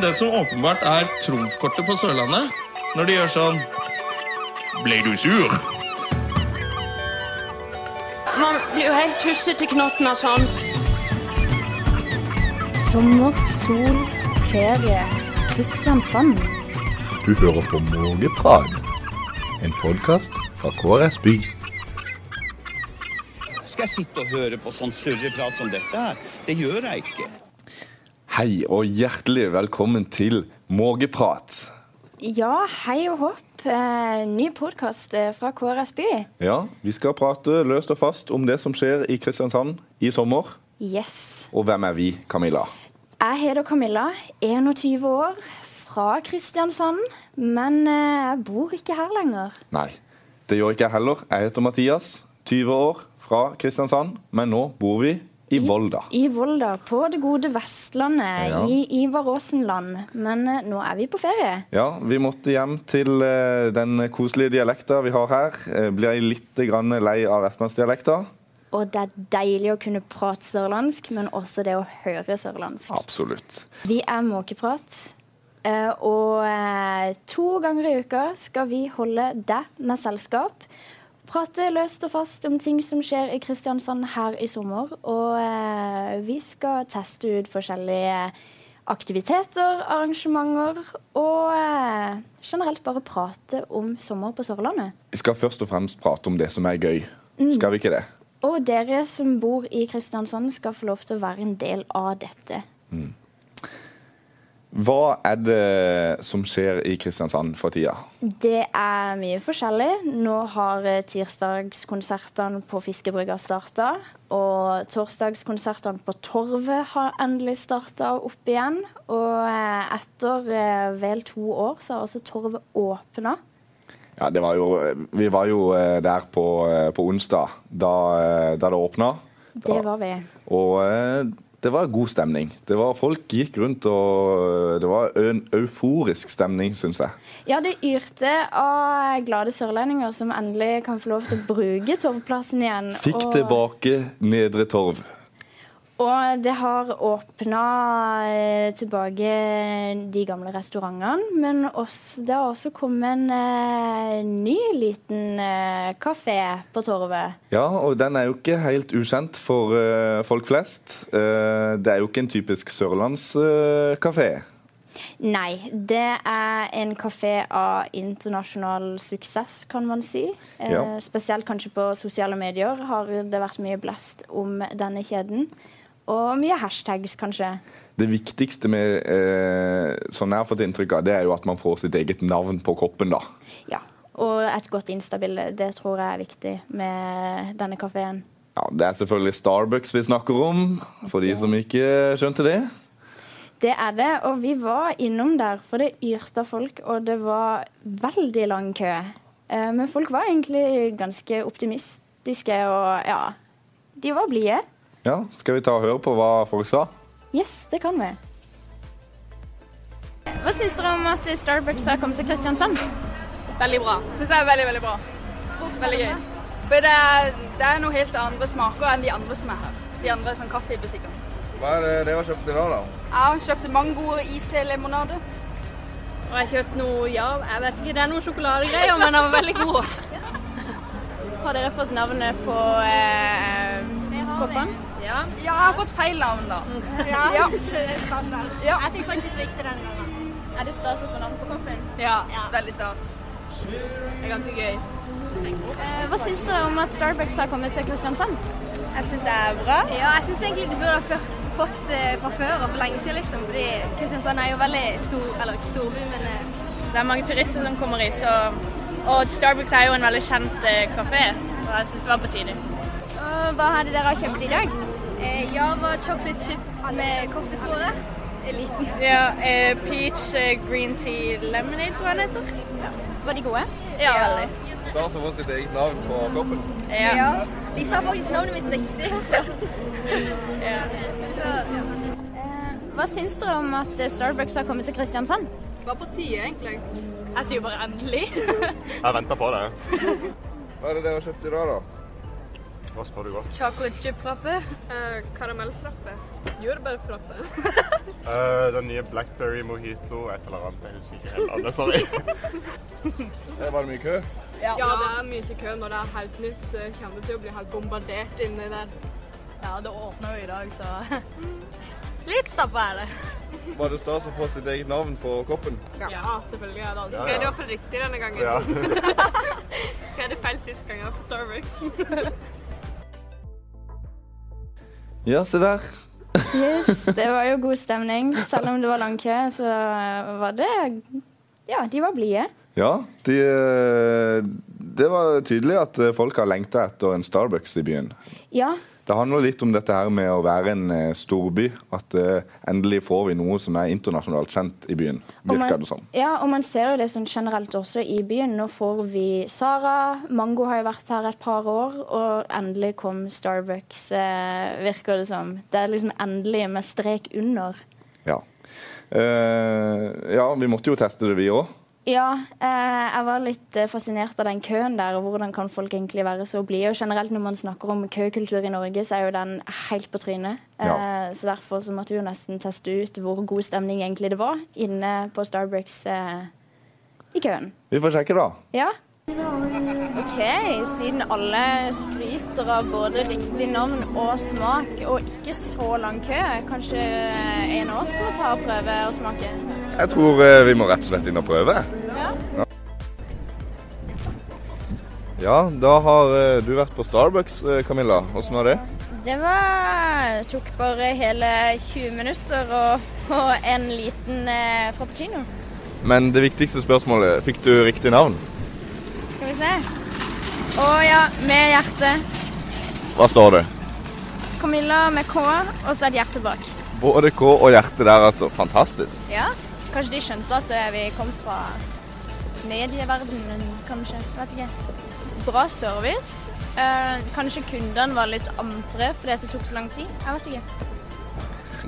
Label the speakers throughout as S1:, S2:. S1: Det som åpenbart er trumfkortet på Sørlandet, når de gjør sånn Ble du sur?
S2: Man blir jo helt tustete i knotten av sånn.
S3: Sommer, sol, ferie. Kristiansand.
S4: Du hører på Mågeprat, en podkast fra KrS By.
S5: Skal jeg sitte og høre på sånn surreprat som dette her? Det gjør jeg ikke.
S4: Hei og hjertelig velkommen til Mågeprat.
S3: Ja, hei og hopp. Eh, ny podkast fra KrS By.
S4: Ja, vi skal prate løst og fast om det som skjer i Kristiansand i sommer.
S3: Yes.
S4: Og hvem er vi, Camilla?
S3: Jeg heter Camilla, 21 år, fra Kristiansand. Men eh, jeg bor ikke her lenger.
S4: Nei, det gjør ikke jeg heller. Jeg heter Mathias, 20 år, fra Kristiansand. Men nå bor vi i Volda.
S3: I Volda, på det gode Vestlandet,
S4: Ja.
S3: i Ivar Aasen-land. Men eh, nå er vi på ferie.
S4: Ja, vi måtte hjem til eh, den koselige dialekta vi har her. Eh, Blir jeg litt grann lei av vestlandsdialekta?
S3: Og det er deilig å kunne prate sørlandsk, men også det å høre sørlandsk.
S4: Absolutt.
S3: Vi er Måkeprat, eh, og eh, to ganger i uka skal vi holde deg med selskap. Prate løst og fast om ting som skjer i Kristiansand her i sommer. Og eh, vi skal teste ut forskjellige aktiviteter, arrangementer og eh, generelt bare prate om sommer på Sørlandet.
S4: Vi skal først og fremst prate om det som er gøy. Skal vi ikke det?
S3: Og dere som bor i Kristiansand skal få lov til å være en del av dette.
S4: Hva er det som skjer i Kristiansand for tida?
S3: Det er mye forskjellig. Nå har eh, tirsdagskonsertene på Fiskebrygga starta. Og torsdagskonsertene på Torvet har endelig starta opp igjen. Og eh, etter eh, vel to år så har også Torvet åpna.
S4: Ja, det var jo, vi var jo eh, der på, eh, på onsdag, da, eh, da det åpna.
S3: Det var vi.
S4: Og eh, det var god stemning. Det var, folk gikk rundt og eh, Det var en euforisk stemning, syns jeg.
S3: Ja, det yrte av glade sørlendinger som endelig kan få lov til å bruke Torvplassen igjen.
S4: Fikk
S3: og-
S4: tilbake Nedre Torv.
S3: Og det har åpna eh, tilbake de gamle restaurantene, men også, det har også kommet en eh, ny liten eh, kafé på Torvet.
S4: Ja, og den er jo ikke helt ukjent for eh, folk flest. Eh, det er jo ikke en typisk sørlandskafé.
S3: Nei, det er en kafé av internasjonal suksess, kan man si. Eh,
S4: Ja.
S3: Spesielt kanskje på sosiale medier har det vært mye blest om denne kjeden. Og mye hashtags, kanskje.
S4: Det viktigste med eh, sånn jeg har fått inntrykk av, det er jo at man får sitt eget navn på koppen, da.
S3: Ja. Og et godt Insta-bilde. Det tror jeg er viktig med denne kafeen.
S4: Ja, Det er selvfølgelig Starbucks vi snakker om, for de som ikke skjønte det.
S3: Det er det, og vi var innom der, for det yrte av folk, og det var veldig lang kø. Eh, Men folk var egentlig ganske optimistiske, og ja De var blide.
S4: Ja, Skal vi ta og høre på hva folk sa?
S3: Yes, det kan vi. Hva syns dere om at Starbucks har kommet til Kristiansand?
S6: Veldig bra. Synes jeg er veldig, veldig bra. Veldig gøy. For det er, det er noe helt andre smaker enn de andre som er her. De andre sånn kaffebutikkene.
S4: Hva er det dere har kjøpt i dag, da?
S6: Jeg har kjøpt mango og iste-limonade. Og jeg har kjøpt noe, ja, jeg vet ikke, det er noen sjokoladegreier, men den var veldig god.
S3: Har dere fått navnet på koppene?
S6: eh, Ja, Mm. jeg har fått feil navn da.
S7: Ja, standard.
S6: Ja.
S7: Jeg fikk faktisk riktig denne gangen.
S3: Er det stas å få navn på koppen?
S6: Ja, veldig stas. Det er ganske gøy.
S3: Hva syns dere om at Starbucks har kommet til Kristiansand?
S6: Jeg syns det er bra. Ja, jeg syns egentlig du burde ha ført, fått eh, fra før og for lenge siden, liksom. Fordi Kristiansand er jo veldig stor, eller ikke storby, men eh, Det er mange turister som kommer hit, så Og Starbucks er jo en veldig kjent eh, kafé, så jeg syns det var på tide.
S3: Hva hadde dere kjøpt i dag?
S6: Eh, ja, var chocolate chip med kaffe, tror jeg. Liten. Ja, eh, peach green tea lemonade, tror jeg den heter.
S3: Var de gode?
S6: Ja, veldig.
S4: Stas å få sitt eget navn på koppen.
S6: Ja. De sa faktisk navnet mitt riktig, altså.
S3: Hva syns dere om at eh, Starbucks har kommet til Kristiansand?
S6: Hva på tide, egentlig? Jeg sier jo bare endelig.
S8: Jeg venter på det.
S4: Hva er det dere har kjøpt i dag, da?
S1: Hva spør du godt?
S6: Chocolate chip-frappe. Eh, Karamellfrappe. Jordbærfrappe.
S1: Eh, den nye Blackberry Mojito, et eller annet. Jeg husker ikke helt annet, sorry. Eh, Var det mye kø?
S6: Ja, det er mye kø. Når det er helt nytt, så kommer det til å bli helt bombardert inni der. Mm. Ja, det åpner jo i dag, så Litt stappa er det.
S4: Var det stas å få sitt eget navn på koppen?
S6: Ja, selvfølgelig er det alltid.
S1: Ja, ja.
S6: for riktig denne gangen?
S1: Ja.
S6: Skal jeg det feil sist gang jeg var på Starbucks?
S4: Ja, se der.
S3: Yes, det var jo god stemning. Selv om det var lang kø, så var det Ja, de var blide.
S4: Ja, de, eh, det var tydelig at eh, folk har lengta etter en Starbucks i byen.
S3: Ja,
S4: Det handler litt om dette her med å være en eh, storby. At eh, endelig får vi noe som er internasjonalt kjent i byen,
S3: og man,
S4: virker det som.
S3: ja, og man ser jo det sånn generelt også i byen. Nå får vi Sara, Mango har jo vært her et par år, og endelig kom Starbucks, eh, virker det som. Det er liksom endelig med strek under.
S4: Ja. Eh, ja, vi måtte jo teste det, vi òg.
S3: Ja, eh, jeg var litt eh, fascinert av den køen der. og Hvordan kan folk egentlig være så blide? Og generelt når man snakker om køkultur i Norge, så er jo den helt på trynet.
S4: Ja.
S3: Eh, så derfor så måtte vi jo nesten teste ut hvor god stemning egentlig det var inne på Starbucks eh, i køen.
S4: Vi får sjekke, da.
S3: Ja.
S9: Ok, siden alle skryter av både riktig navn og smak, og ikke så lang kø, kanskje en av oss må ta og prøve å smake?
S4: Jeg tror eh, vi må rett og slett inn og prøve. Ja. Ja, da har eh, du vært på Starbucks, eh, Camilla. Åssen var det?
S9: Det var, tok bare hele 20 minutter å få en liten eh, frappuccino.
S4: Men det viktigste spørsmålet fikk du riktig navn?
S9: Skal vi se. Å ja, med hjerte.
S4: Hva står det?
S9: Camilla med K, og så et hjerte bak.
S4: Både K og hjerte der, altså. Fantastisk.
S9: Ja, kanskje de skjønte at eh, vi kom fra medieverdenen, kanskje. Vet ikke. Bra service. Eh, kanskje kundene var litt ampre fordi at det tok så lang tid. Jeg vet ikke.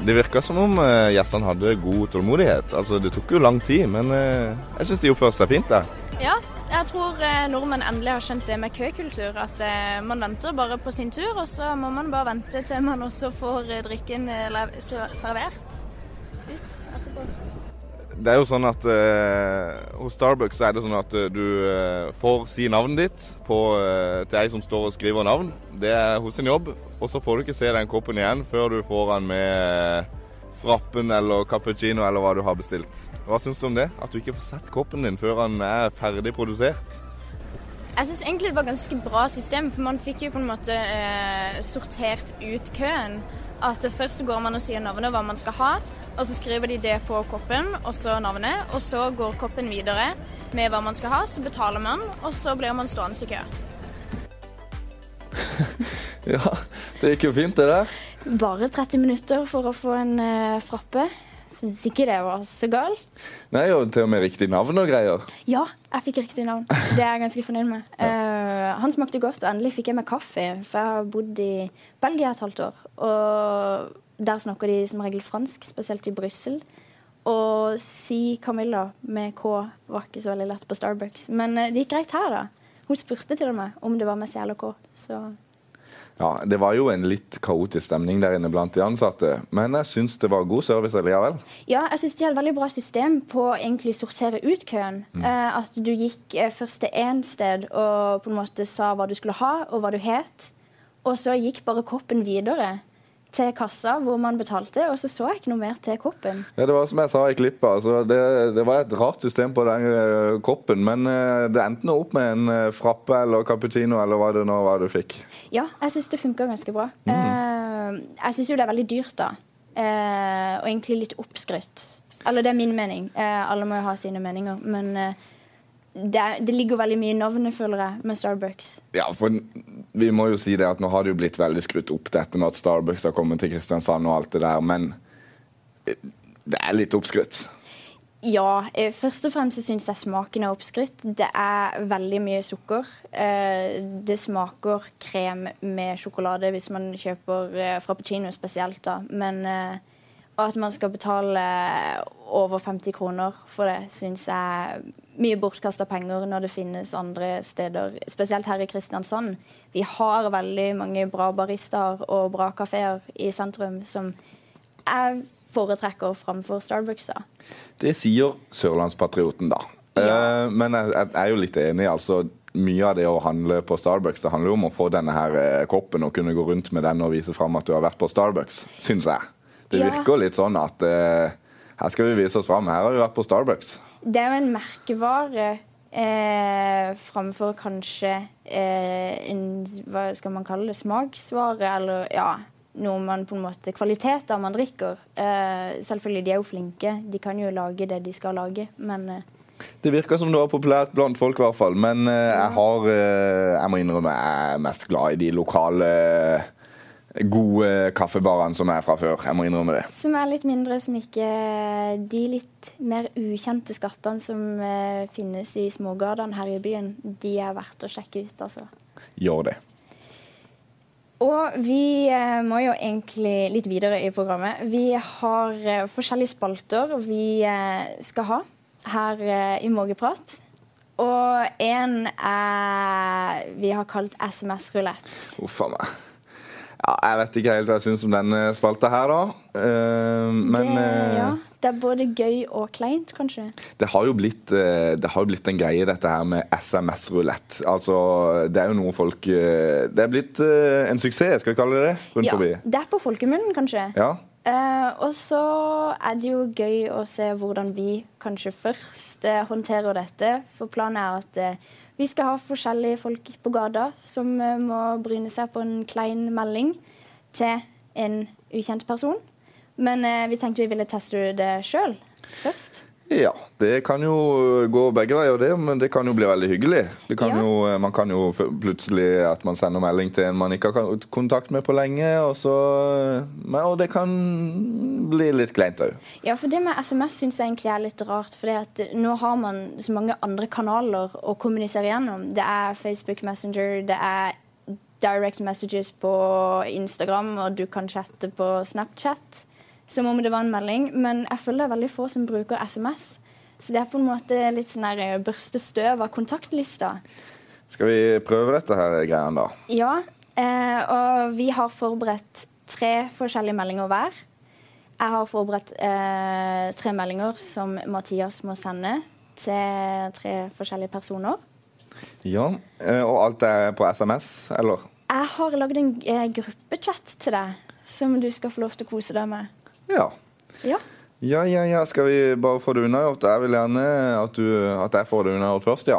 S4: Det virka som om eh, gjestene hadde god tålmodighet. Altså, det tok jo lang tid, men eh, jeg syns de oppførte seg fint der.
S9: Ja, jeg tror eh, nordmenn endelig har skjønt det med køkultur. At eh, man venter bare på sin tur, og så må man bare vente til man også får eh, drikken eh, lev- ser- servert ut etterpå.
S4: Det er jo sånn at eh, hos Starbucks så er det sånn at eh, du eh, får si navnet ditt på, eh, til ei som står og skriver navn. Det er hos sin jobb. Og så får du ikke se den koppen igjen før du får den med eh, frappen eller cappuccino eller hva du har bestilt. Hva syns du om det? At du ikke får sett koppen din før den er ferdig produsert?
S9: Jeg syns egentlig det var ganske bra system, for man fikk jo på en måte eh, sortert ut køen. At det først så går man og sier navnet, hva man skal ha, og så skriver de det på koppen, og så navnet, og så går koppen videre med hva man skal ha, så betaler man, og så blir man stående i kø.
S4: Ja, det gikk jo fint, det der.
S3: Bare 30 minutter for å få en eh, frappe. Syns ikke det var så galt.
S4: Nei, og til og med riktig navn og greier.
S3: Ja, jeg fikk riktig navn. Det er jeg ganske fornøyd med. Eh, han smakte godt, og endelig fikk jeg meg kaffe. For jeg har bodd i Belgia et halvt år, og der snakker de som regel fransk, spesielt i Brussel. Å si Camilla med K var ikke så veldig lett på Starbucks, men eh, det gikk greit her, da. Hun spurte til og med om det var med C eller K, så
S4: Ja, Det var jo en litt kaotisk stemning der inne blant de ansatte, men jeg syns det var god service allikevel.
S3: Ja, jeg synes de hadde veldig bra system på å egentlig sortere ut køen. Eh, at du gikk eh, først til én sted og på en måte sa hva du skulle ha, og hva du het. Og så gikk bare koppen videre til kassa hvor man betalte, og så så jeg ikke noe mer til koppen.
S4: Ja, Det var som jeg sa i klippet. Altså, det, det var et rart system på den eh, koppen. Men eh, det endte nå opp med en eh, frappe eller cappuccino eller hva det nå var du fikk.
S3: Ja, jeg syns det funka ganske bra. Eh, jeg syns jo det er veldig dyrt, da. Eh, og egentlig litt oppskrytt. Eller det er min mening. Eh, alle må jo ha sine meninger. Men eh, det, er- det ligger veldig mye i navnet, føler jeg, med Starbucks.
S4: Ja, for vi må jo si det at nå har det jo blitt veldig skrutt opp dette med at Starbucks har kommet til Kristiansand og alt det der, men eh, det er litt oppskrytt.
S3: Ja. eh, Først og fremst så syns jeg smaken er oppskrytt. Det er veldig mye sukker. Eh, Det smaker krem med sjokolade hvis man kjøper eh, frappuccino spesielt, da. Men eh, at man skal betale over 50 kroner for det, syns jeg mye bortkasta penger når det finnes andre steder, spesielt her i Kristiansand. Vi har veldig mange bra baristaer og bra kafeer i sentrum som jeg foretrekker framfor Starbucks. da.
S4: Det sier Sørlandspatrioten, da. Eh, men jeg, jeg er jo litt enig. altså Mye av det å handle på Starbucks det handler jo om å få denne her eh, koppen og kunne gå rundt med den og vise fram at du har vært på Starbucks, syns jeg. Det
S3: Ja.
S4: virker litt sånn at eh, her skal vi vise oss fram. Her har vi vært på Starbucks.
S3: Det er jo en merkevare eh, framfor kanskje eh, en hva skal man kalle det, smaksvare, eller ja, noe man på en måte Kvaliteter man drikker. Eh, selvfølgelig, de er jo flinke. De kan jo lage det de skal lage, men eh,
S4: Det virker som det var populært blant folk, i hvert fall. Men eh, jeg har eh, Jeg må innrømme jeg er mest glad i de lokale eh, gode kaffebarene som er fra før. Jeg må innrømme det.
S3: som er litt mindre, som ikke De litt mer ukjente skattene som eh, finnes i smågatene her i byen, de er verdt å sjekke ut, altså.
S4: Gjør det.
S3: Og vi eh, må jo egentlig litt videre i programmet. Vi har eh, forskjellige spalter vi eh, skal ha her eh, i Mågeprat. Og en er vi har kalt SMS-rulett.
S4: Uff a meg. Ja, jeg vet ikke helt hva jeg syns om denne spalta her, da. Eh, men
S3: det,
S4: eh,
S3: ja, det er både gøy og kleint, kanskje.
S4: det har jo blitt, eh, det har jo blitt en greie, dette her med SMS-rulett. Altså, det er jo noe folk eh, Det er blitt eh, en suksess, skal vi kalle det det? Rundt
S3: Ja,
S4: forbi.
S3: det er på folkemunnen, kanskje.
S4: Ja.
S3: Eh, og så er det jo gøy å se hvordan vi kanskje først eh, håndterer dette. For planen er at eh, vi skal ha forskjellige folk på gata som eh, må bryne seg på en klein melding til en ukjent person. Men eh, vi tenkte vi ville teste det sjøl først.
S4: Ja, det kan jo eh, gå begge veier, det, men det kan jo bli veldig hyggelig. Det kan
S3: Ja.
S4: jo, eh, man kan jo f- plutselig at man sender melding til en man ikke har kon- kontakt med på lenge, og, så, eh, men, og det kan bli litt kleint òg.
S3: Ja, for det med SMS syns jeg egentlig er litt rart. For at nå har man så mange andre kanaler å kommunisere gjennom. Det er Facebook Messenger, det er direct messages på Instagram, og du kan chatte på Snapchat. Som om det var en melding. Men jeg føler det er veldig få som bruker SMS. Så det er på en måte litt sånn der eh, børste støv av kontaktlista.
S4: Skal vi prøve dette her greien, da?
S3: Ja, eh, og vi har forberedt tre forskjellige meldinger hver. Jeg har forberedt eh, tre meldinger som Mathias må sende til tre forskjellige personer.
S4: Ja. eh, Og alt er på SMS, eller?
S3: Jeg har lagd en eh, gruppechat til deg som du skal få lov til å kose deg med.
S4: Ja.
S3: Ja.
S4: Ja, ja, ja. Skal vi bare få det unnagjort? Jeg vil gjerne at, du, at jeg får det unnagjort først, ja.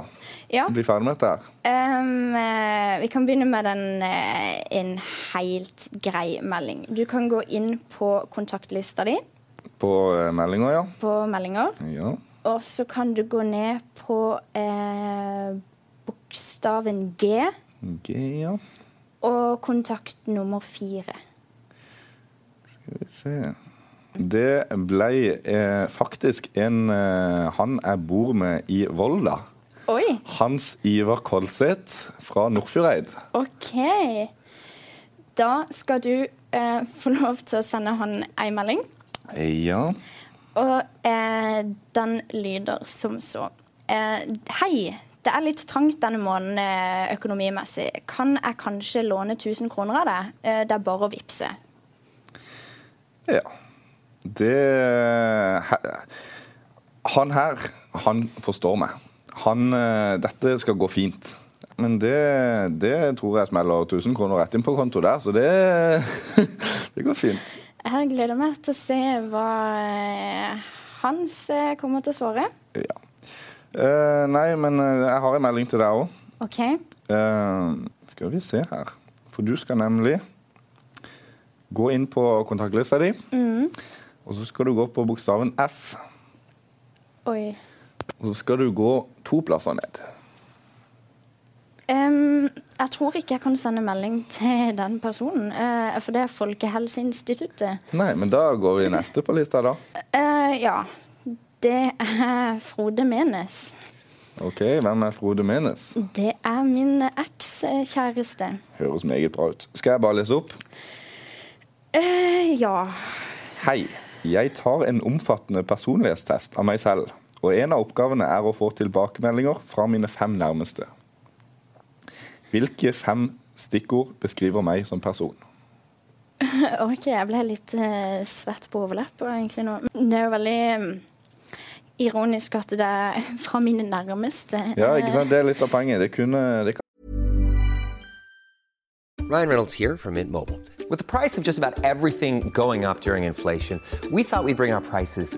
S3: Ja.
S4: Bli ferdig med dette her.
S3: Em, eh, vi kan begynne med den, eh, en helt grei melding. Du kan gå inn på kontaktlista di
S4: På eh, meldinger, ja.
S3: på meldinger.
S4: ja.
S3: Og så kan du gå ned på eh, bokstaven G
S4: G, ja.
S3: og kontakt nummer fire.
S4: Skal vi se Det ble eh, faktisk en eh, han jeg bor med i Volda.
S3: Oi!
S4: Hans Ivar Kolseth fra Nordfjordeid.
S3: OK. Da skal du eh, få lov til å sende han ei melding.
S4: Ja.
S3: Og eh, den lyder som så. Eh, hei, det er litt trangt denne måneden eh, økonomimessig. Kan jeg kanskje låne 1000 kroner av deg? Eh, det er bare å vippse.
S4: ja. Det he- Han her, han forstår meg. Han eh, Dette skal gå fint. Men det, det tror jeg smeller 1000 kroner rett inn på konto der, så det, det går fint.
S3: Jeg gleder meg til å se hva eh, Hans eh, kommer til å svare.
S4: Ja. Eh, nei, men eh, jeg har en melding til deg òg.
S3: OK.
S4: skal vi se her. For du skal nemlig gå inn på kontaktlista di,
S3: Mm.
S4: og så skal du gå på bokstaven F.
S3: Oi.
S4: Og så skal du gå to plasser ned.
S3: Em, jeg tror ikke jeg kan sende melding til den personen, eh, for det er Folkehelseinstituttet.
S4: Nei, men da går vi neste på lista, da.
S3: Eh, ja. Det er Frode Menes.
S4: OK, hvem er Frode Menes?
S3: Det er min ekskjæreste.
S4: Høres meget bra ut. Skal jeg bare lese opp?
S3: Eh, ja. Eh,
S4: Hei. Jeg tar en omfattende personlighetstest av meg selv, Og en av oppgavene er å få tilbakemeldinger fra mine fem nærmeste. Hvilke fem stikkord beskriver meg som person?
S3: OK, jeg ble litt eh, svett på overleppa egentlig nå. Det er jo veldig mm, ironisk at det er fra mine nærmeste.
S4: Ja, ikke sant? Det er litt av poenget. Det kunne, det
S10: Ryan Reynolds here from Mint Mobile. With the price of just about everything going up during inflation, we thought we'd bring our prices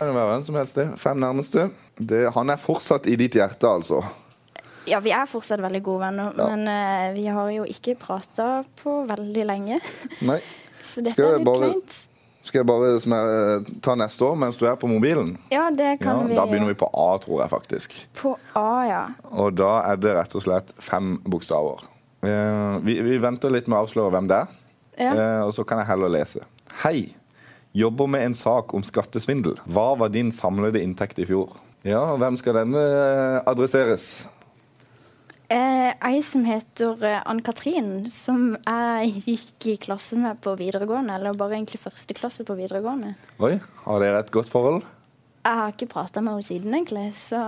S4: kan jo være hvem som helst, det. Fem nærmeste. Det, han er fortsatt i ditt hjerte, altså.
S3: Ja, vi er fortsatt veldig gode venner, men eh, vi har jo ikke prata på veldig lenge.
S4: Nei.
S3: Så dette
S4: Skal
S3: er
S4: jeg
S3: litt
S4: bare-
S3: kleint.
S4: Skal jeg bare smer- ta neste år mens du er på mobilen?
S3: Ja, det kan vi.
S4: Da begynner vi på A, tror jeg faktisk.
S3: På A, ja.
S4: Og da er det rett og slett fem bokstaver. Eh, vi, vi venter litt med å avsløre hvem det er,
S3: Ja.
S4: Eh, og så kan jeg heller lese. Hei. Jobber med en sak om skattesvindel. Hva var din samlede inntekt i fjor? Ja, og hvem skal denne eh, adresseres?
S3: Eh, ei som heter eh, Ann-Katrin, som jeg gikk i klasse med på videregående. Eller bare egentlig første klasse på videregående.
S4: Oi, har dere et godt forhold?
S3: Jeg har ikke prata med henne siden, egentlig, så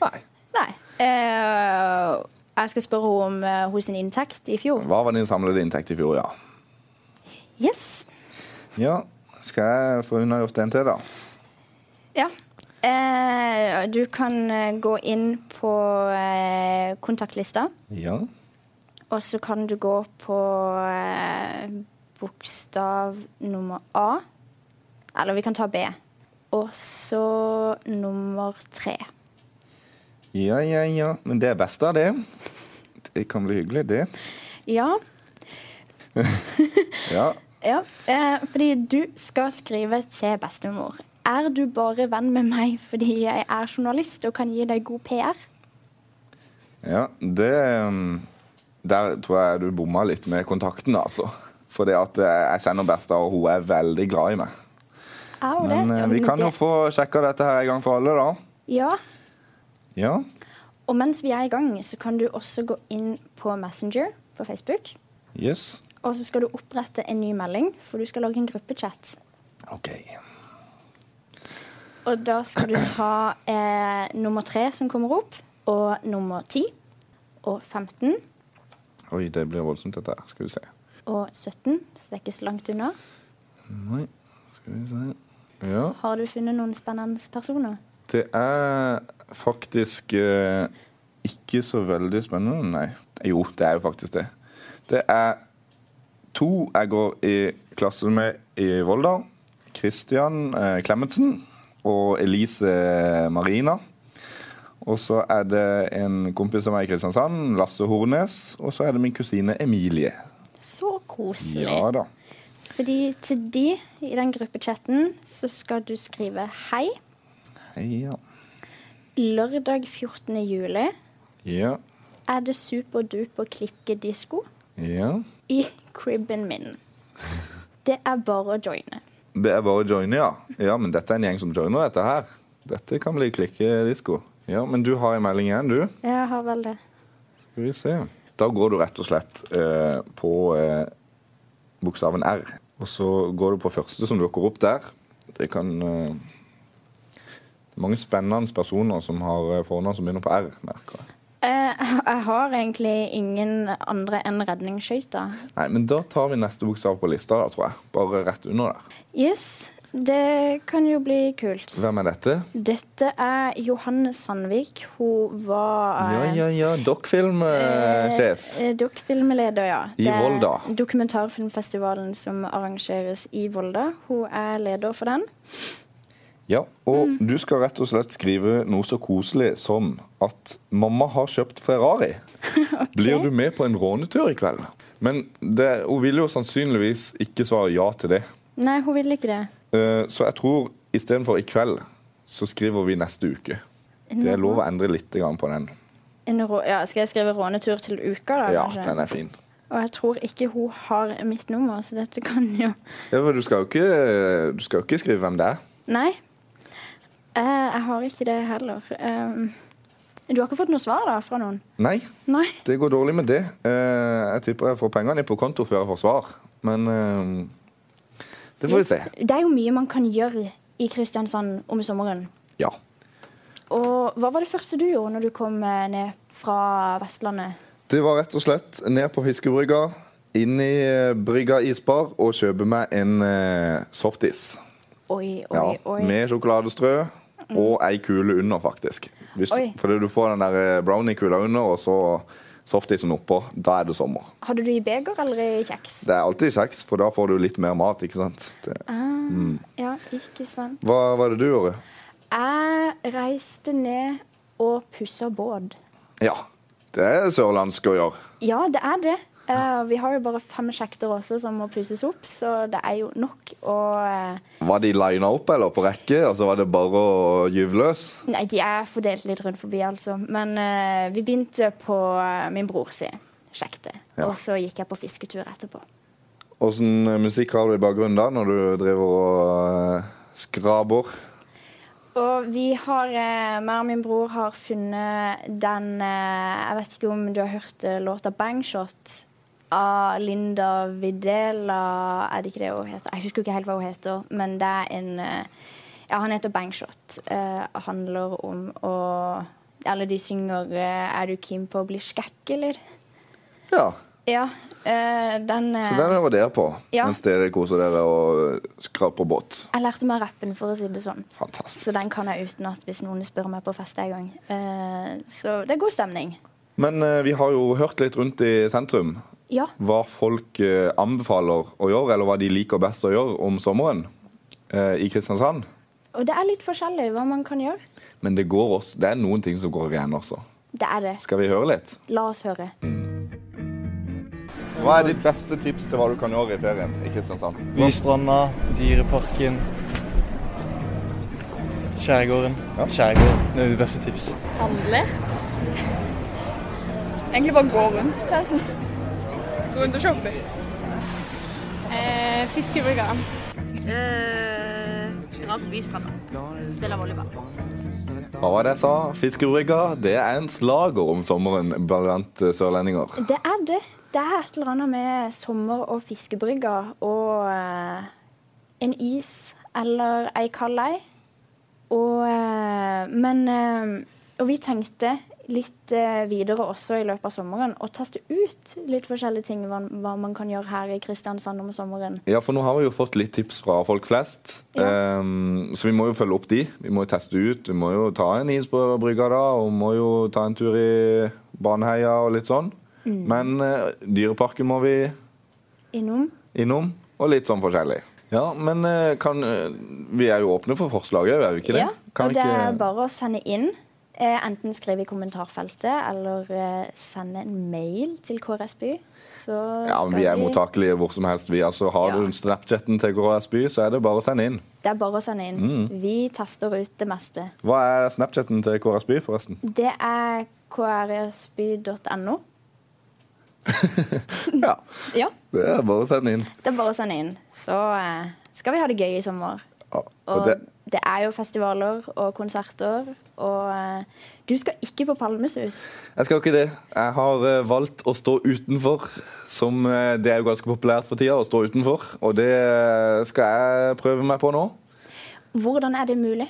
S4: Nei.
S3: Nei. Eh, jeg skal spørre henne om eh, hennes inntekt i fjor.
S4: Hva var din samlede inntekt i fjor, ja?
S3: Yes.
S4: Ja, skal jeg få unnagjort en til, da?
S3: Ja. Eh, du kan eh, gå inn på eh, kontaktlista.
S4: Ja.
S3: Og så kan du gå på eh, bokstav nummer A. Eller vi kan ta B. Og så nummer tre.
S4: Ja, ja, ja. Men det er best av det. Det kan bli hyggelig, det.
S3: Ja.
S4: Ja.
S3: ja. Eh, fordi du skal skrive til bestemor. Er du bare venn med meg fordi jeg er journalist og kan gi deg god PR?
S4: Ja, det um, Der tror jeg du bomma litt med kontakten, altså. Fordi at eh, jeg kjenner Bertha, og hun er veldig glad i meg.
S3: Er hun det?
S4: Men eh,
S3: Ja,
S4: vi
S3: men
S4: kan jo
S3: det-
S4: få sjekka dette her en gang for alle, da.
S3: Ja.
S4: Ja.
S3: Og mens vi er i gang, så kan du også gå inn på Messenger på Facebook.
S4: Yes.
S3: Og så skal du opprette en ny melding, for du skal lage en gruppechat.
S4: OK.
S3: Og da skal du ta eh, nummer tre som kommer opp, og nummer ti, og 15,
S4: Oi, det blir voldsomt, dette her. Skal vi se.
S3: og 17, så det er ikke så langt unna.
S4: Nei, skal vi se Ja.
S3: Har du funnet noen spennende personer?
S4: Det er faktisk eh, ikke så veldig spennende, nei. Jo, det er jo faktisk det. Det er to jeg går i klasse med i Volda. Christian eh, Clemetsen og Elise eh, Marina. Og så er det en kompis av meg i Kristiansand, Lasse Hornes. Og så er det min kusine Emilie.
S3: Så koselig.
S4: Ja da.
S3: Fordi til de i den gruppechatten så skal du skrive hei.
S4: Ja.
S3: Lørdag 14. juli
S4: Ja.
S3: er det superduper klikkedisko
S4: ja.
S3: i cribben min. Det er bare å joine.
S4: Det er bare å joine, ja. Ja, men dette er en gjeng som joiner dette her. Dette kan bli klikkedisko. Ja, men du har en melding igjen, du.
S3: Jeg har vel det.
S4: Skal vi se. Da går du rett og slett eh, på eh, bokstaven R. Og så går du på første som dukker opp der. Det kan eh, det er mange spennende personer som har eh, fornavn som begynner på R. merker jeg.
S3: Eh, jeg har egentlig ingen andre enn redningsskøyta.
S4: Nei, men da tar vi neste bokstav på lista, da, tror jeg. Bare rett under der.
S3: Yes, det kan jo bli kult.
S4: Hvem er dette?
S3: Dette er Johanne Sandvik. Hun var
S4: Ja,
S3: eh,
S4: ja, ja. Dokkfilmsjef.
S3: eh, Dokkfilmleder, ja.
S4: I
S3: Det er
S4: Volda.
S3: Dokumentarfilmfestivalen som arrangeres i Volda. Hun er leder for den.
S4: Ja, og du skal rett og slett skrive noe så koselig som at 'mamma har kjøpt Ferrari'. Blir du med på en rånetur i kveld? Men det, hun vil jo sannsynligvis ikke svare ja til det.
S3: Nei, hun vil ikke det.
S4: Eh, Så jeg tror istedenfor 'i kveld', så skriver vi 'neste uke'. Det er lov å endre litt grann på den.
S3: En rå, ja, skal jeg skrive 'rånetur til uka', da?
S4: Ja,
S3: kanskje?
S4: den er fin.
S3: Og jeg tror ikke hun har mitt nummer, så dette kan jo
S4: Ja, for du skal jo ikke, du skal jo ikke skrive hvem det er.
S3: Nei. Eh, jeg har ikke det heller. Ehm, du har ikke fått noe svar da fra noen?
S4: Nei,
S3: Nei.
S4: det går dårlig med det. Eh, jeg tipper jeg får pengene på konto før jeg får svar. Men eh, det får vi se.
S3: Det er jo mye man kan gjøre i Kristiansand om sommeren.
S4: Ja.
S3: Og hva var det første du gjorde når du kom eh, ned fra Vestlandet?
S4: Det var rett og slett ned på fiskebrygga, inn i eh, brygga isbar og kjøpe meg en eh, softis.
S3: Oi, oi,
S4: Ja,
S3: oi. Mm.
S4: med sjokoladestrø og ei kule under, faktisk. Hvis,
S3: Oi.
S4: fordi du får den der eh, brownie-kula under, og så softisen oppå. Da er det sommer.
S3: Hadde du i beger eller i kjeks?
S4: Det er alltid kjeks, for da får du litt mer mat, ikke sant? Det.
S3: Ah,
S4: Mm.
S3: Ja, ikke sant.
S4: Hva var det du gjorde?
S3: Jeg reiste ned og pussa båt.
S4: Ja, det er sørlandsk å gjøre.
S3: Ja, det er det. Eh, vi har jo bare fem sjekter også som må pusses opp, så det er jo nok å eh,
S4: Var de lina opp eller på rekke, og så var det bare å gyve løs?
S3: Nei, de er fordelt litt rundt forbi, altså. Men eh, vi begynte på eh, min bror si sjekte,
S4: Ja.
S3: og så gikk jeg på fisketur etterpå.
S4: Åssen eh, musikk har du i bakgrunnen da, når du driver og eh, skraber?
S3: Og vi har, eh, meg og min bror har funnet den eh, Jeg vet ikke om du har hørt eh, låta 'Bangshot' av Linda Videla Er det ikke det hun heter? Jeg husker ikke helt hva hun heter, men det er en eh, Ja, han heter Bangshot. Eh, handler om å Eller de synger eh, 'Er du keen på å bli skækk', eller?
S4: Ja,
S3: Ja, eh, den eh,
S4: så den hører dere på
S3: Ja.
S4: mens dere koser dere og eh, skraper båt.
S3: Jeg lærte meg rappen, for å si det sånn.
S4: Fantastisk.
S3: Så den kan jeg utenat hvis noen spør meg på fest en gang. Eh, så det er god stemning.
S4: Men eh, vi har jo hørt litt rundt i sentrum
S3: Ja.
S4: hva folk eh, anbefaler å gjøre, eller hva de liker best å gjøre om sommeren eh, i Kristiansand.
S3: Og det er litt forskjellig hva man kan gjøre.
S4: Men det, går også, det er noen ting som går igjen også.
S3: Det er det.
S4: Skal vi høre litt?
S3: La oss høre.
S4: Hva er ditt beste tips til hva du kan gjøre i ferien i Kristiansand?
S11: Bystranda, Dyreparken, Skjærgården. Skjærgården. Det er det beste tips.
S6: Handle. Egentlig bare gå rundt her. Gå rundt og shoppe.
S7: Eh, Fiskebrygga. dra på bystranda. Spille volleyball.
S4: Hva var det jeg sa? Fiskebrygga, det er en slager om sommeren blant eh, sørlendinger.
S3: Det er det. Det er et eller annet med sommer og fiskebrygger og eh, en is eller ei kald ei. Og, eh, men eh, Og vi tenkte litt eh, videre også i løpet av sommeren å teste ut litt forskjellige ting hva, hva man kan gjøre her i Kristiansand om sommeren.
S4: Ja, for nå har vi jo fått litt tips fra folk flest, Ehm, så vi må jo følge opp de. Vi må jo teste ut, vi må jo ta en is på brygga da, og må jo ta en tur i Baneheia og litt sånn.
S3: Mm.
S4: Men eh, dyreparken må vi
S3: Innom.
S4: innom, og litt sånn forskjellig. Ja, men eh, kan, eh, vi er jo åpne for forslag òg, er vi ikke det?
S3: Ja,
S4: Kan
S3: og
S4: vi
S3: det
S4: ikke-
S3: er bare å sende inn. Eh, enten skrive i kommentarfeltet eller eh, sende en mail til KRSBY. Så
S4: Ja,
S3: skal
S4: men Vi er
S3: vi-
S4: mottakelige hvor som helst. vi. Altså, har
S3: Ja.
S4: du Snapchatten til KRS By, så er det bare å sende inn.
S3: Det er bare å sende inn.
S4: Mm.
S3: Vi tester ut det meste.
S4: Hva er Snapchatten til KRS By, forresten?
S3: Det er krsby.no.
S4: ja.
S3: ja.
S4: Det er bare å sende inn.
S3: Det er bare å sende inn. Så eh, skal vi ha det gøy i sommer.
S4: Og
S3: Og
S4: det,
S3: det er jo festivaler og konserter, og eh, du skal ikke på Palmesus.
S4: jeg skal ikke det. Jeg har eh, valgt å stå utenfor, som eh, det er jo ganske populært for tida, å stå utenfor. Og det eh, skal jeg prøve meg på nå.
S3: Hvordan er det mulig?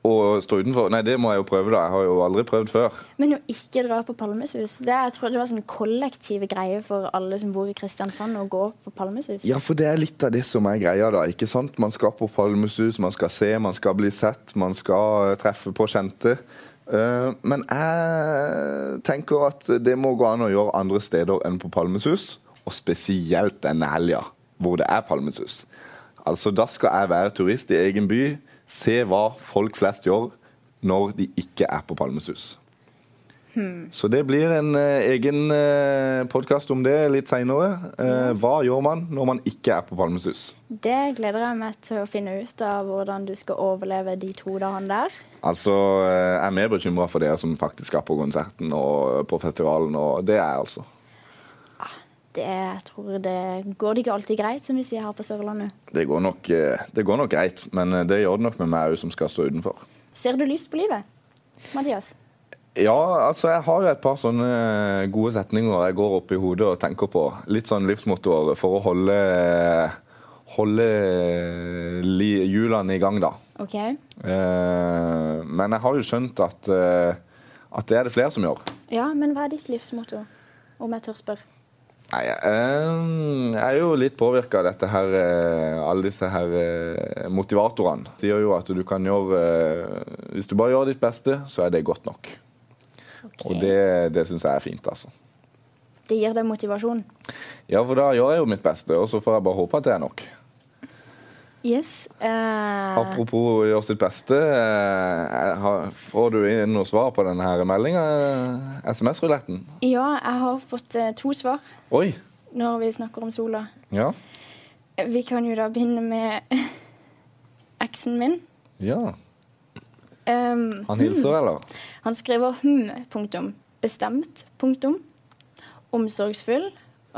S4: Å stå utenfor? Nei, det må jeg jo prøve, da. Jeg har jo aldri prøvd før.
S3: Men å ikke dra på Palmesus, det, jeg tror det var sånn kollektive greier for alle som bor i Kristiansand, å gå på Palmesus.
S4: Ja, for det er litt av det som er greia, da. ikke sant? Man skal på Palmesus, man skal se, man skal bli sett, man skal eh, treffe på kjente. Eh, Men jeg tenker at det må gå an å gjøre andre steder enn på Palmesus, og spesielt denne helga, hvor det er Palmesus. Altså, da skal jeg være turist i egen by, se hva folk flest gjør når de ikke er på Palmesus.
S3: Hmm.
S4: Så det blir en eh, egen eh, podkast om det litt seinere. Eh, hva gjør man når man ikke er på Palmesus?
S3: Det gleder jeg meg til å finne ut av hvordan du skal overleve de to dagene der.
S4: Altså, eh, jeg er mer bekymra for dere som faktisk er på konserten og eh, på festivalen, og det er jeg altså.
S3: Det, jeg tror det går det ikke alltid greit, som vi sier her på Sørlandet.
S4: Det går nok, eh, det går nok greit, men eh, det gjør det nok med meg òg, som skal stå utenfor.
S3: Ser du lyst på livet, Mathias?
S4: Ja, altså jeg har jo et par sånne eh, gode setninger jeg går opp i hodet og tenker på. Litt sånn livsmotor for å holde, eh, holde eh, li, hjulene i gang, da.
S3: OK.
S4: Eh, men jeg har jo skjønt at, eh, at det er det flere som gjør.
S3: Ja, men hva er ditt livsmotto, om jeg tør spørre?
S4: Nei, eh, jeg er jo litt påvirka av dette her, eh, alle disse her eh, motivatorene. De gjør jo at du kan gjøre eh, Hvis du bare gjør ditt beste, så er det godt nok. Og det, det syns jeg er fint, altså.
S3: Det gir deg motivasjon.
S4: Ja, for da gjør jeg jo mitt beste, og så får jeg bare håpe at det er nok.
S3: Yes. eh,
S4: Apropos gjøre sitt beste. eh, jeg har- Får du inn noe svar på denne eh, meldinga? SMS-ruletten?
S3: ja, jeg har fått eh, to svar
S4: Oi!
S3: når vi snakker om sola.
S4: Ja.
S3: Vi kan jo da begynne med eksen min.
S4: ja.
S3: Um,
S4: Han hilser, eller?
S3: Han skriver hm, punktum, bestemt, punktum, omsorgsfull,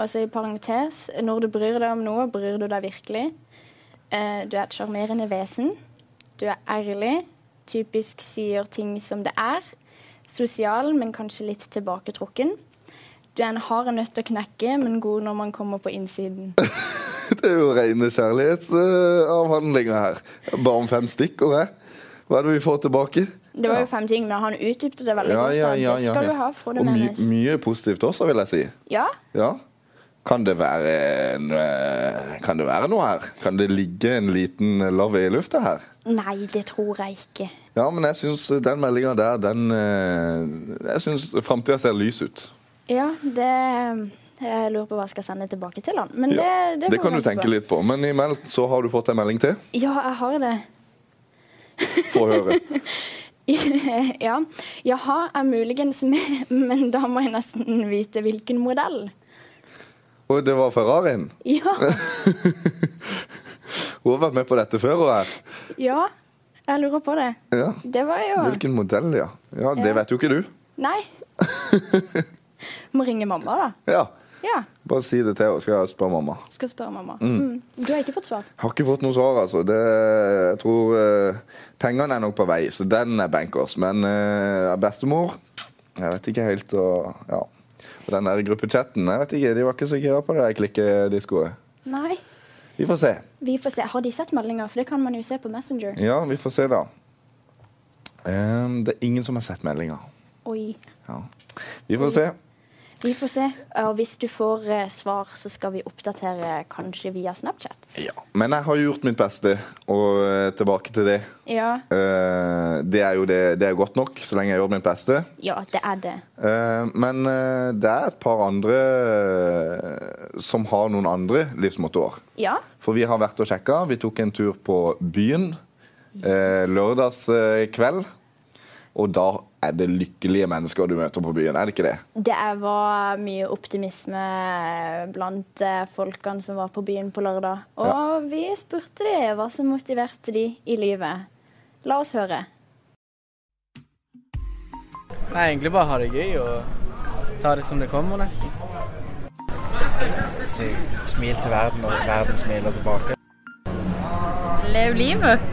S3: altså i parentes, når du bryr deg om noe, bryr du deg virkelig. Eh, du er et sjarmerende vesen. Du er ærlig, typisk sier ting som det er. Sosial, men kanskje litt tilbaketrukken. Du er en hard nøtt å knekke, men god når man kommer på innsiden.
S4: Det er jo rene kjærlighetsavhandlinger her. Bare om fem stikkord, hæ? Hva er det vi får tilbake?
S3: Det var jo fem ting, men han utdypte det veldig
S4: Ja,
S3: godt.
S4: ja,
S3: da.
S4: ja,
S3: det
S4: ja,
S3: skal
S4: ja.
S3: du ha, Frode
S4: Og my
S3: Menes.
S4: mye positivt også, vil jeg si.
S3: Ja,
S4: Ja. Kan det være en, eh, Kan det være noe her? Kan det ligge en liten love i lufta her?
S3: Nei, det tror jeg ikke.
S4: Ja, men jeg syns den meldinga der, den eh, Jeg syns framtida ser lys ut.
S3: Ja, det Jeg lurer på hva jeg skal sende tilbake til han. Men det,
S4: Ja,
S3: det, får vi
S4: kan du
S3: vente
S4: tenke
S3: på.
S4: litt på. Men imens så har du fått en melding til.
S3: Ja, jeg har det.
S4: Få høre.
S3: ja. Jaha, er muligens med, men da må jeg nesten vite hvilken modell.
S4: Og det var Ferrarien.
S3: Ja.
S4: Hun har vært med på dette før. Hun her.
S3: ja. Jeg lurer på det.
S4: Ja.
S3: Det var jo
S4: Hvilken modell, ja.
S3: Ja.
S4: ja. Det vet jo ikke du.
S3: Nei. Må ringe mamma, da.
S4: Ja.
S3: Ja.
S4: Bare si det til henne, skal jeg spørre mamma.
S3: Skal spørre mamma.
S4: Mm.
S3: Mm. Du har ikke fått svar?
S4: Har ikke fått noe svar, altså. Det, jeg tror eh, Pengene er nok på vei, så den er bankers. Men eh, bestemor Jeg vet ikke helt og, ja. og den der gruppechatten, jeg vet ikke, de var ikke så gira på det der klikkediskoet.
S3: Nei.
S4: Vi får se.
S3: Vi får se. Har de sett meldinger? For det kan man jo se på Messenger.
S4: Ja, vi får se, da. Ehm, det er ingen som har sett meldinga.
S3: Oi.
S4: Ja. Vi får se.
S3: Vi får se. Og hvis du får eh, svar, så skal vi oppdatere kanskje via Snapchat.
S4: Men jeg har jo gjort mitt beste, og eh, tilbake til det.
S3: Ja.
S4: Eh, det er jo det, det er godt nok, så lenge jeg gjør mitt beste.
S3: Ja, det er det.
S4: Eh, men eh, det er et par andre eh, som har noen andre livsmotorer.
S3: Ja.
S4: For vi har vært og sjekka. Vi tok en tur på byen eh, lørdagskveld. Og da er det lykkelige mennesker du møter på byen, er det ikke det?
S3: Det er- var mye optimisme blant eh, folkene som var på byen på lørdag. Og
S4: Ja.
S3: vi spurte de hva som motiverte de i livet. La oss høre.
S12: Nei, egentlig bare ha det gøy og ta det som det kommer, nesten.
S13: Si smil til verden, og verden smiler tilbake.
S7: Lev livet.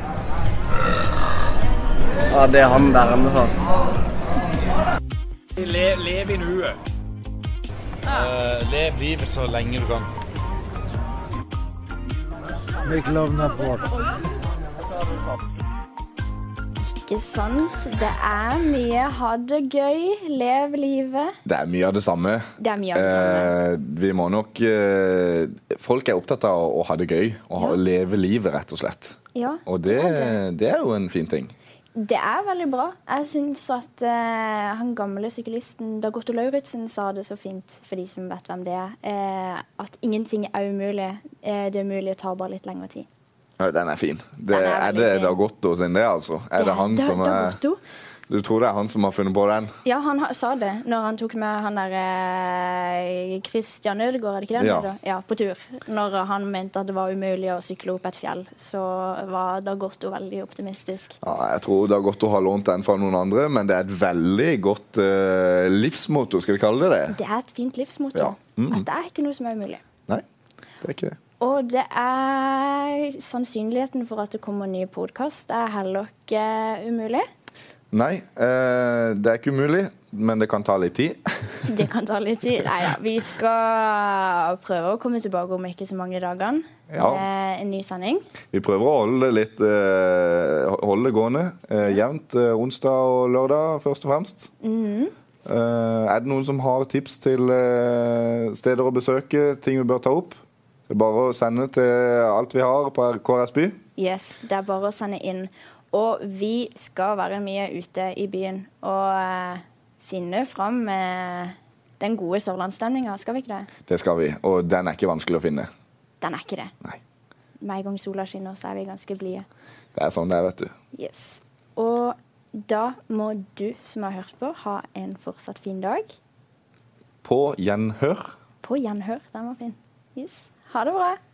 S13: Ja, det er han der inne, sånn.
S14: Le, lev i nuet. Eh, lev livet så lenge du kan.
S13: Make love not war.
S3: Ikke sant? Det er mye ha det gøy, lev livet.
S4: Det er mye av det samme.
S3: Det er mye av det samme.
S4: Eh, vi må nok eh, Folk er opptatt av å, å ha det gøy og ha, leve livet, rett og slett.
S3: Ja.
S4: Og det, det er jo en fin ting.
S3: Det er veldig bra. Jeg syns at eh, han gamle syklisten Dag Otto Lauritzen sa det så fint, for de som vet hvem det er, eh, at ingenting er umulig. Eh, det mulige tar bare litt lengre tid.
S4: Ja, Den er fin. Det,
S3: Den er
S4: er,
S3: veldig
S4: det
S3: fin.
S4: Dag Otto sin, det, altså? Er det, han
S3: Da-
S4: som
S3: Dag
S4: er
S3: Otto.
S4: Du tror det er han som har funnet på den?
S3: Ja, han ha- sa det når han tok med han der eh, Christian Ødegaard, er det ikke det?
S4: Ja.
S3: han heter? ja. På tur. Når han mente at det var umulig å sykle opp et fjell, så var Dagotto veldig optimistisk.
S4: Ja, jeg tror det er godt å ha lånt den fra noen andre, men det er et veldig godt eh, livsmotto, skal vi kalle det det?
S3: Det er et fint livsmotto.
S4: Ja. Mm.
S3: At det er ikke noe som er umulig.
S4: Nei, det er ikke det.
S3: Og det er sannsynligheten for at det kommer en ny podkast, er heller ikke umulig.
S4: Nei, eh, det er ikke umulig, men det kan ta litt tid.
S3: Det kan ta litt tid. Nei da. Vi skal prøve å komme tilbake om ikke så mange dagene.
S4: Ja.
S3: Eh, en ny sending.
S4: Vi prøver å holde det litt eh, holde det gående eh, jevnt eh, onsdag og lørdag, først og fremst.
S3: Mhm.
S4: Eh, er det noen som har tips til eh, steder å besøke, ting vi bør ta opp? Det er bare å sende til alt vi har på KRS By.
S3: Yes, det er bare å sende inn. Og vi skal være mye ute i byen og eh, finne fram eh, den gode sørlandsstemninga, skal vi ikke det?
S4: Det skal vi, og den er ikke vanskelig å finne.
S3: Den er ikke det. Med en gang sola skinner, så er vi ganske blide.
S4: Det er sånn det er, vet du.
S3: Yes. Og da må du som har hørt på, ha en fortsatt fin dag.
S4: På gjenhør.
S3: På gjenhør. Den var fin. Yes. Ha det bra.